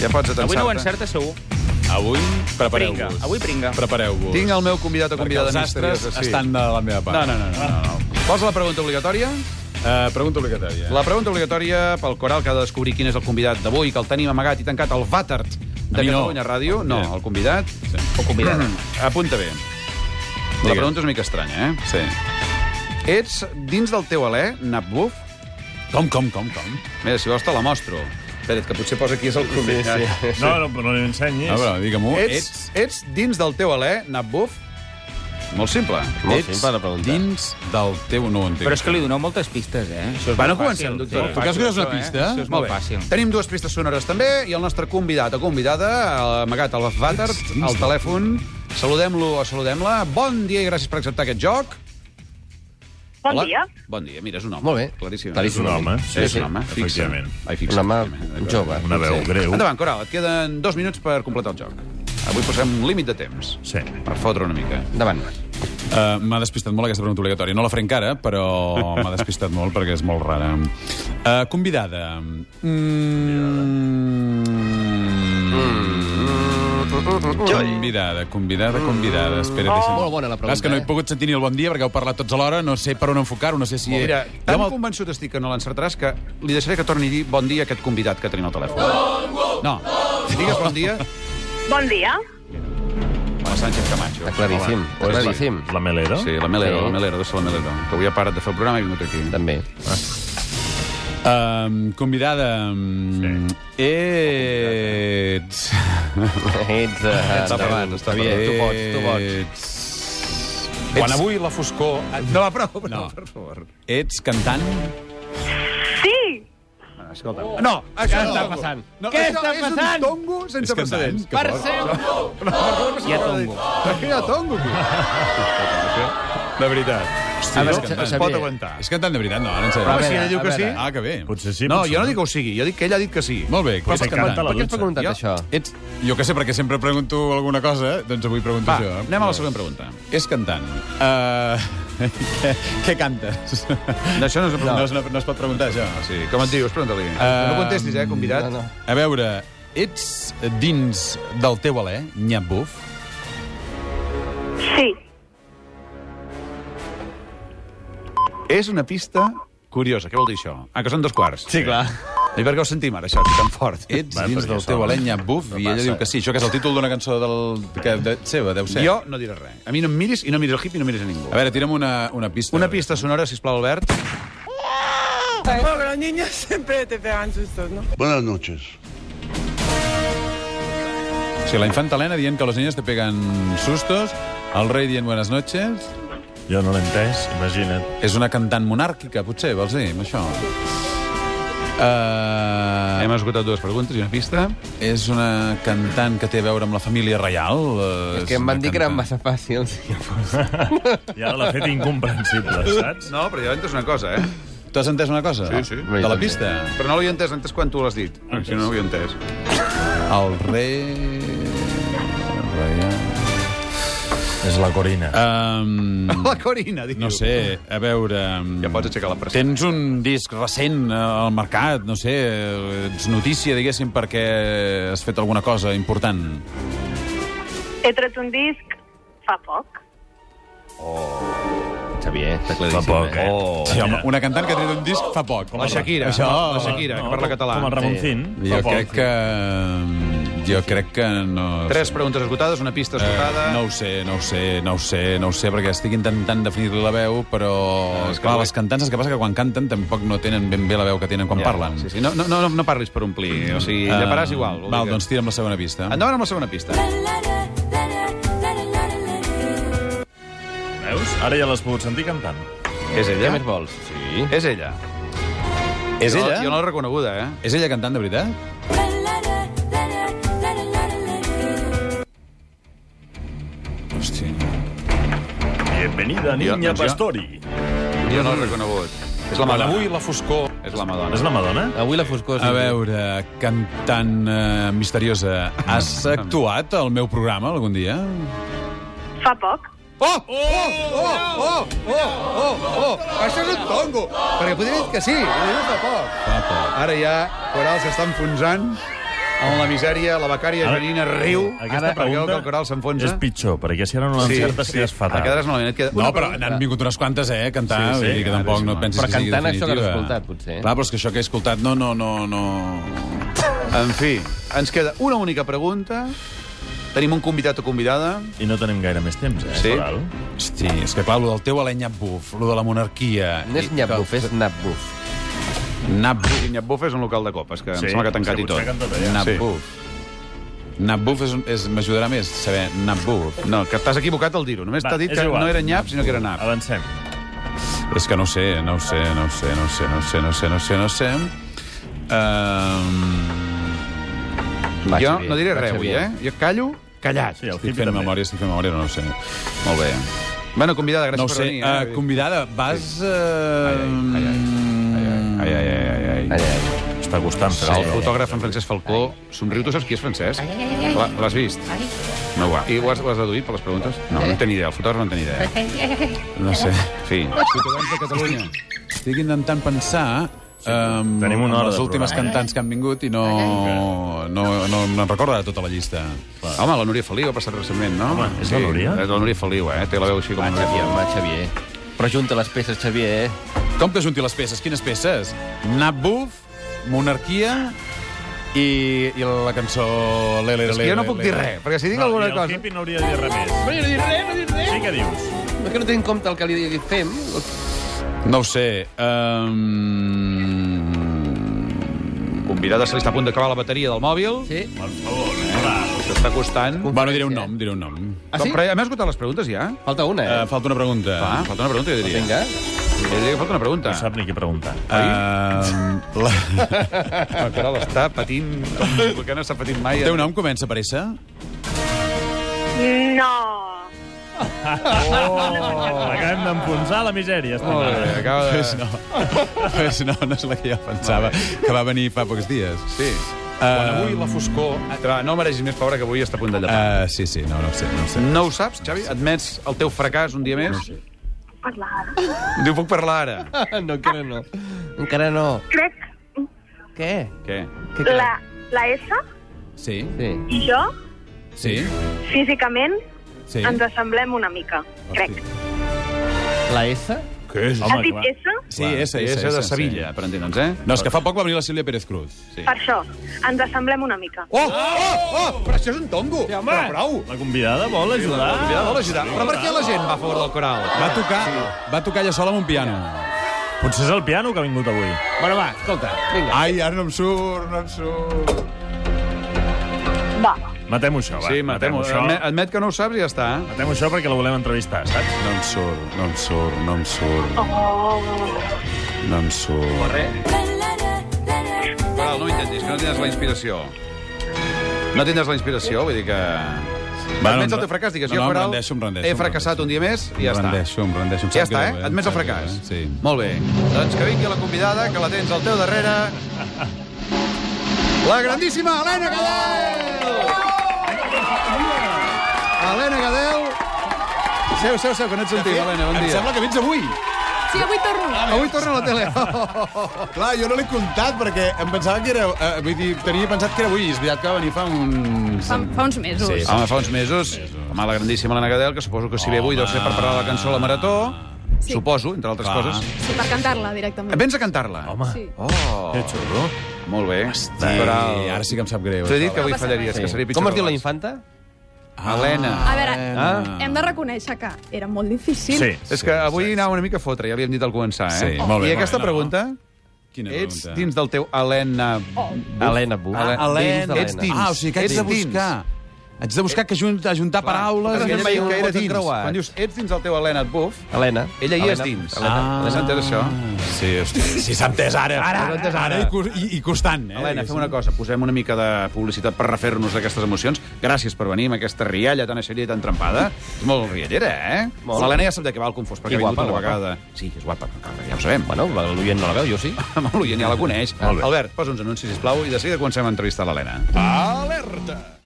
Ja pots atansar-te. Avui no ho encerta segur. Avui, Pringa, prepareu-vos. avui pringa. Prepareu-vos. Tinc el meu convidat o Perquè convidada els astres misteriosa. Sí. estan de la meva part. No, no, no. no, no. Vols la pregunta obligatòria? Uh, pregunta obligatòria. La pregunta obligatòria pel Coral, que ha de descobrir quin és el convidat d'avui, que el tenim amagat i tancat al vàter de A mi no. Catalunya Ràdio. No, el convidat. Sí. O convidada. Apunta bé. La Digues. pregunta és una mica estranya, eh? Sí. Ets dins del teu alè, Napbuf? Com, com, com, com? Mira, si vols te la mostro. Espera't, que potser posa aquí és el convidat. Sí, sí. No, no, però no li ensenyis. Ah, A veure, digue-m'ho. Ets, ets dins del teu alè, Napbuf? Molt simple. Molt ets simple de preguntar. dins del teu... No ho entenc. Però és que li doneu moltes pistes, eh? Això és Va, no molt comencem, fàcil. doctor. Sí. Tu creus que és una Això, eh? pista? Això és molt fàcil. Tenim dues pistes sonores també i el nostre convidat o convidada, eh, amagat a l'Avatar, dins al telèfon. Saludem-lo o saludem-la. Bon dia i gràcies per acceptar aquest joc. Bon dia. Bon dia, mira, és un home. Molt bé. Claríssim. És un home. Sí, és un home. sí, Fixa. efectivament. Ai, fixa. Una mà Efectivament, jove. Una veu potser. greu. Endavant, Coral, et queden dos minuts per completar el joc. Avui posem un límit de temps. Sí. Per fotre una mica. Endavant. Uh, m'ha despistat molt aquesta pregunta obligatòria. No la faré encara, però m'ha despistat molt perquè és molt rara. Uh, convidada. Mm. Mm... Convidada, convidada, convidada. Espera, deixa'm... Oh, Molt bona la pregunta, És que no he eh? pogut sentir ni el bon dia perquè heu parlat tots alhora, no sé per on enfocar-ho, no sé Oh, si... Mira, tan Eh, Jo me'l- convençut estic que no l'encertaràs que li deixaré que torni a dir bon dia a aquest convidat que tenim al telèfon. No, digues bon dia Bon dia. a Sánchez Camacho. Està claríssim, Home, està claríssim. La Melero? Sí, la Melero, Sí. la Melero, deixa la Melero. Que avui ha parat de fer el programa i ha vingut aquí. També. Uh, convidada... mm, Ets... Ets uh, endavant, està Xavier. Tu pots, tu pots. Ets... Quan avui la foscor... No, prou, No. per favor. Ets cantant? Sí! Escolta'm. No, això no. està passant? No, Què això està És un passant? tongo sense cantant? precedents. Que fort. Hi ha tongo. Hi ha tongo, aquí. De veritat. Hosti, és Xavier, cantant. Xavier, Pot aguantar. És cantant de veritat, no, ara en Però a sèrio. veure, si ella diu a que sí. veure. Ah, que bé. Potser sí, No, potser jo no dic que ho sigui, jo dic que ella ha dit que sí. Molt bé, què Potser fas canta cantant? la Per què has preguntat Jo- això? Ets... Jo que sé, perquè sempre pregunto alguna cosa, doncs avui pregunto Va, això. eh? anem a la següent pregunta. És cantant. Uh, què, què cantes? D'això no és una No, pregunta. es, no, no es pot preguntar, això. Sí, com et dius? Pregunta-li. Eh, no contestis, eh, convidat. No, no. A veure, ets dins del teu alè, Nyap Buf? Sí. És una pista curiosa. Què vol dir això? Ah, que són dos quarts. Sí, clar. I per què ho sentim ara, això, tan fort? Ets Va, dins perquè del això teu no- alè, Nyap Buf? I ella diu que sí. Això que és el títol d'una cançó del... Que, de, seva, deu ser. Jo no diré res. A mi no em miris i no miris el hip i no miris a ningú. A veure, tira'm una, una pista. Una pista sonora, sisplau, Albert. No, pero los niños siempre te pegan sustos, ¿no? Buenas noches. O sigui, la infanta Helena dient que los niños te pegan sustos, el rei dient buenas noches... Jo no l'he entès, imagina't. És una cantant monàrquica, potser, vols dir, amb això? Uh... Hem Uh, esgotat dues preguntes i una pista. és una cantant que té a veure amb la família reial? Uh, És que em van dir que eren massa fàcils. I ara l'ha fet incomprensible, saps? No, però ja entes una cosa, eh? Tu has entès una cosa? Sí, sí. De la pista? Però no l'he entès, l'he entès quan tu l'has dit. Si no, no l'he entès. El rei... Reial... És la Corina. Ah, Um, La Corina, diu. no sé, a veure... um, Ja pots aixecar la pressió. Tens un disc recent eh, al mercat, no sé, eh, ets notícia, diguéssim, perquè has fet alguna cosa important. He tret un disc fa poc. Xavier, està Fa claríssim. poc, eh? Oh. Sí, home, una cantant que ha tret un disc fa poc. La Shakira, Això... la Shakira, que parla català. Com el Ramoncín. Jo crec que... Jo crec que no... Tres preguntes esgotades, una pista esgotada. Eh, no ho sé, no ho sé, no ho sé, no ho sé, perquè estic intentant definir-li la veu, però... No, Ah, és és que clar, avui- les cantants, el que passa que quan canten tampoc no tenen ben bé la veu que tenen quan parlen. Sí, sí. No, no, no, no parlis per omplir, o sigui, Eh, lleparàs igual. vol Val, dir que- Ah, doncs tira'm la segona pista. Endavant amb la segona pista. Veus? Ara ja l'has pogut sentir cantant. És Què ella? més vols? Sí. És ella. És Jo- ella? Jo no l'he reconeguda, eh? És ella cantant, de veritat? Hòstia. Jo- Bienvenida, niña doncs jo- Pastori. Jo no l'he reconegut. És la Quan Madonna. avui la foscor... És la Madonna. És la Madonna? Avui la foscor... és A un- veure, cantant eh, misteriosa, Mm, has actuat al meu programa algun dia? Fa poc. Oh! Oh! Oh! Oh! Oh! Oh! Oh! Això és un tongo! Perquè podria dir que sí, ho diu fa poc. Fa poc. Ara ja, Coral s'està enfonsant. On la misèria, la becària Ara- Janina riu. perquè veu Aquesta pregunta que el coral s'enfonsa. és pitjor, perquè si ara no l'encertes sí, quedes fatal. Et quedaràs malament. Et queda... No, però n'han vingut unes quantes, eh, a cantar. Sí, sí, Sí, sí, que claríssim. tampoc no et pensis Però que sigui cantant això que definitiva. has escoltat, potser. Clar, però és que això que he escoltat, no, no, no, no... En fi, ens queda una única pregunta. Tenim un convidat o convidada. I no tenim gaire més temps, eh? Sí. Coral? Hosti, és que clar, lo del teu aleny Buf, lo de la monarquia... No és i- nyap-buf, és nap-buf. Napbuf. Napbuf és un local de copes, que sí, em Sí, sembla que ha tancat sí, i tot. potser que en tot allà. Napbuf. Napbuf és, un- és m'ajudarà més saber Napbuf. No, que t'has equivocat al dir-ho. Només Va, t'ha dit és que igual. no era nyap, sinó que era nap. Avancem. És que no ho sé, no ho sé, no ho sé, no ho sé, no ho sé, no ho sé, no ho sé, no ho sé. Um... Va, jo Xavier, no diré va, res avui, Xavier. eh? Jo callo, callat. Sí, el Estic hippie fent també. memòria, estic fent memòria, no ho sé. Molt bé. Bueno, convidada, gràcies No ho sé. eh, per venir. eh, Uh, convidada, vas... Uh... ai, ai, Ai, ai, ai, ai, ai. Ai, ai. Està costant fer El sí. fotògraf en Francesc Falcó somriu. Tu saps qui és Francesc? La- L'has vist? No, va. I ho has, ho has deduït per les preguntes? No, no en tenia idea. El fotògraf no en tenia idea. No sé. Sí. Ciutadans de Catalunya. Estic intentant pensar um, Tenim una hora les de últimes programa. cantants que han vingut i no, no, no, no em recorda de tota la llista. Home, la Núria Feliu ha passat recentment, no? Home, és la Núria? Sí, és la Núria Feliu, eh? Té la veu així com Va, la Núria Xavier, Feliu. va, Xavier. Però junta les peces, Xavier, eh? Com que junti les peces? Quines peces? Napbuf, Monarquia i, i la cançó Lele, Lele, És que jo no puc dir res, perquè si dic alguna I el cosa... hippie no hauria de dir res més. Però jo no dic res, no dic res. Sí que dius. És que no tenim en compte el que li fem. No ho sé. ehm, Um... Convidada, se li està a punt d'acabar la bateria del mòbil. Sí. Per favor, eh? Va. S'està costant. Bueno, diré un nom, diré un nom. Ah, sí? Però ja m'has esgotat les preguntes, ja? Falta una, eh? Uh, falta una pregunta. Ehm, Va, falta una pregunta, jo diria. Vinga. Jo diria que falta una pregunta. No sap ni què preguntar. Uh, la... El Coral està patint com que no està patint mai. El teu nom comença per S? Eh. No. Oh. Acabem d'enfonsar la misèria, estimada. Eh, Acaba de... Pues no. pues no, no és la que jo pensava, que va venir fa pocs dies. Sí. Eh, Quan avui la foscor... Tra, no mereixis més pobra que avui està a punt de llepar. Uh, sí, sí, no, no ho sé, no ho sé. No ho saps, Xavi? Admets el teu fracàs un dia Eh? més? Diu, puc parlar ara. No, encara no. Encara no. Crec Què? Què? Què crec? la, la S Sí, Sí. i jo, sí, físicament, sí. ens assemblem una mica. Crec. La S? Què és? Home, Has dit clar. S? Sí, S, S, és S, de Sevilla, per entendre'ns, eh? No, és que fa poc va venir la Sílvia Pérez Cruz. Sí. Per això, ens assemblem una mica. Oh, oh, oh! Però això és un tongo! Sí, home! Però prou! La convidada vol ajudar. Convidada vol ajudar. Però per què la gent va a favor del coral? Va tocar, va tocar ella sola amb un piano. Potser és el piano que ha vingut avui. Bueno, va, escolta. Vinga. Ai, ara no em surt, no em surt. Va. Matem-ho això, va. Sí, matem això. admet, admet que no ho saps i ja està. eh? Matem això perquè la volem entrevistar, saps? No em surt, no em surt, no em surt, Oh. no em surt. Coral, no ho intentis, que no tindràs la inspiració. No tindràs la inspiració, vull dir que... Va, admets no, el teu fracàs, digues, no, jo, no, em Coral, rendeixo, em rendeixo, he em fracassat un rendeixo. dia més i ja em està. rendeixo, em rendeixo. Em Ja sap està, greu, eh? Admets el em sap fracàs. greu, eh? Sí. Molt bé. Doncs que vingui la convidada, que la tens al teu darrere. La grandíssima Helena Gadel! Helena Gadel... Seu, seu, seu, que no et sentim, Helena, bon Em dia. sembla que vens avui. Sí, avui torno. Avui torna a la tele. Clar, jo no l'he comptat perquè em pensava que era... Eh, vull dir, tenia pensat que era avui. És veritat que va venir fa uns... Fa, Ah, fa uns mesos. Sí. Home, fa uns mesos, home, la grandíssima Helena Gadel, que suposo que si ve avui deu ser per parlar de la cançó a la Marató, Sí. suposo, entre altres Clar. coses. Sí, per cantar-la directament. Vens a cantar-la. Home, Sí. Oh, que xulo. molt bé. Sí, Coral. ara sí que em sap greu. T'he dit que avui No passa fallaries, res. que seria pitjor. Com es diu que la abans. infanta? Helena. A veure, Ah. hem de reconèixer que era molt difícil. Sí. És que avui anava una mica a fotre, ja havíem dit al començar, eh? Sí, molt bé, I aquesta molt bé. pregunta, Quina ets pregunta? dins del teu Helena... Helena Bu. Ale- Helena. Ah, Ets dins. Ah, o sigui que haig Ets de dins. buscar... Haig de buscar que junt, ajuntar paraules... Perquè no ella em diu que veia era un dins. creuat. Quan dius, ets dins del teu Helena et buf, Helena. ella hi és Helena. dins. Helena. Has entès això? Ah. Sí, hosti, sí, s'ha entès ara. Ara, S'ha entès ara. i, cos- i, i costant, eh? Helena, fem una cosa, posem una mica de publicitat per refer-nos d'aquestes emocions. Gràcies per venir amb aquesta rialla tan aixeria i tan trempada. És molt riallera, eh? Molt. L'Helena ja sap de què va el confós, perquè I ha vingut guapa, una guapa. vegada. Sí, és guapa, no cal, ja ho sabem. Bueno, l'oient no la veu, jo sí. Amb l'Oient ja la coneix. Molt bé. Albert, posa uns anuncis, sisplau, i de seguida comencem a entrevistar l'Helena. Alerta!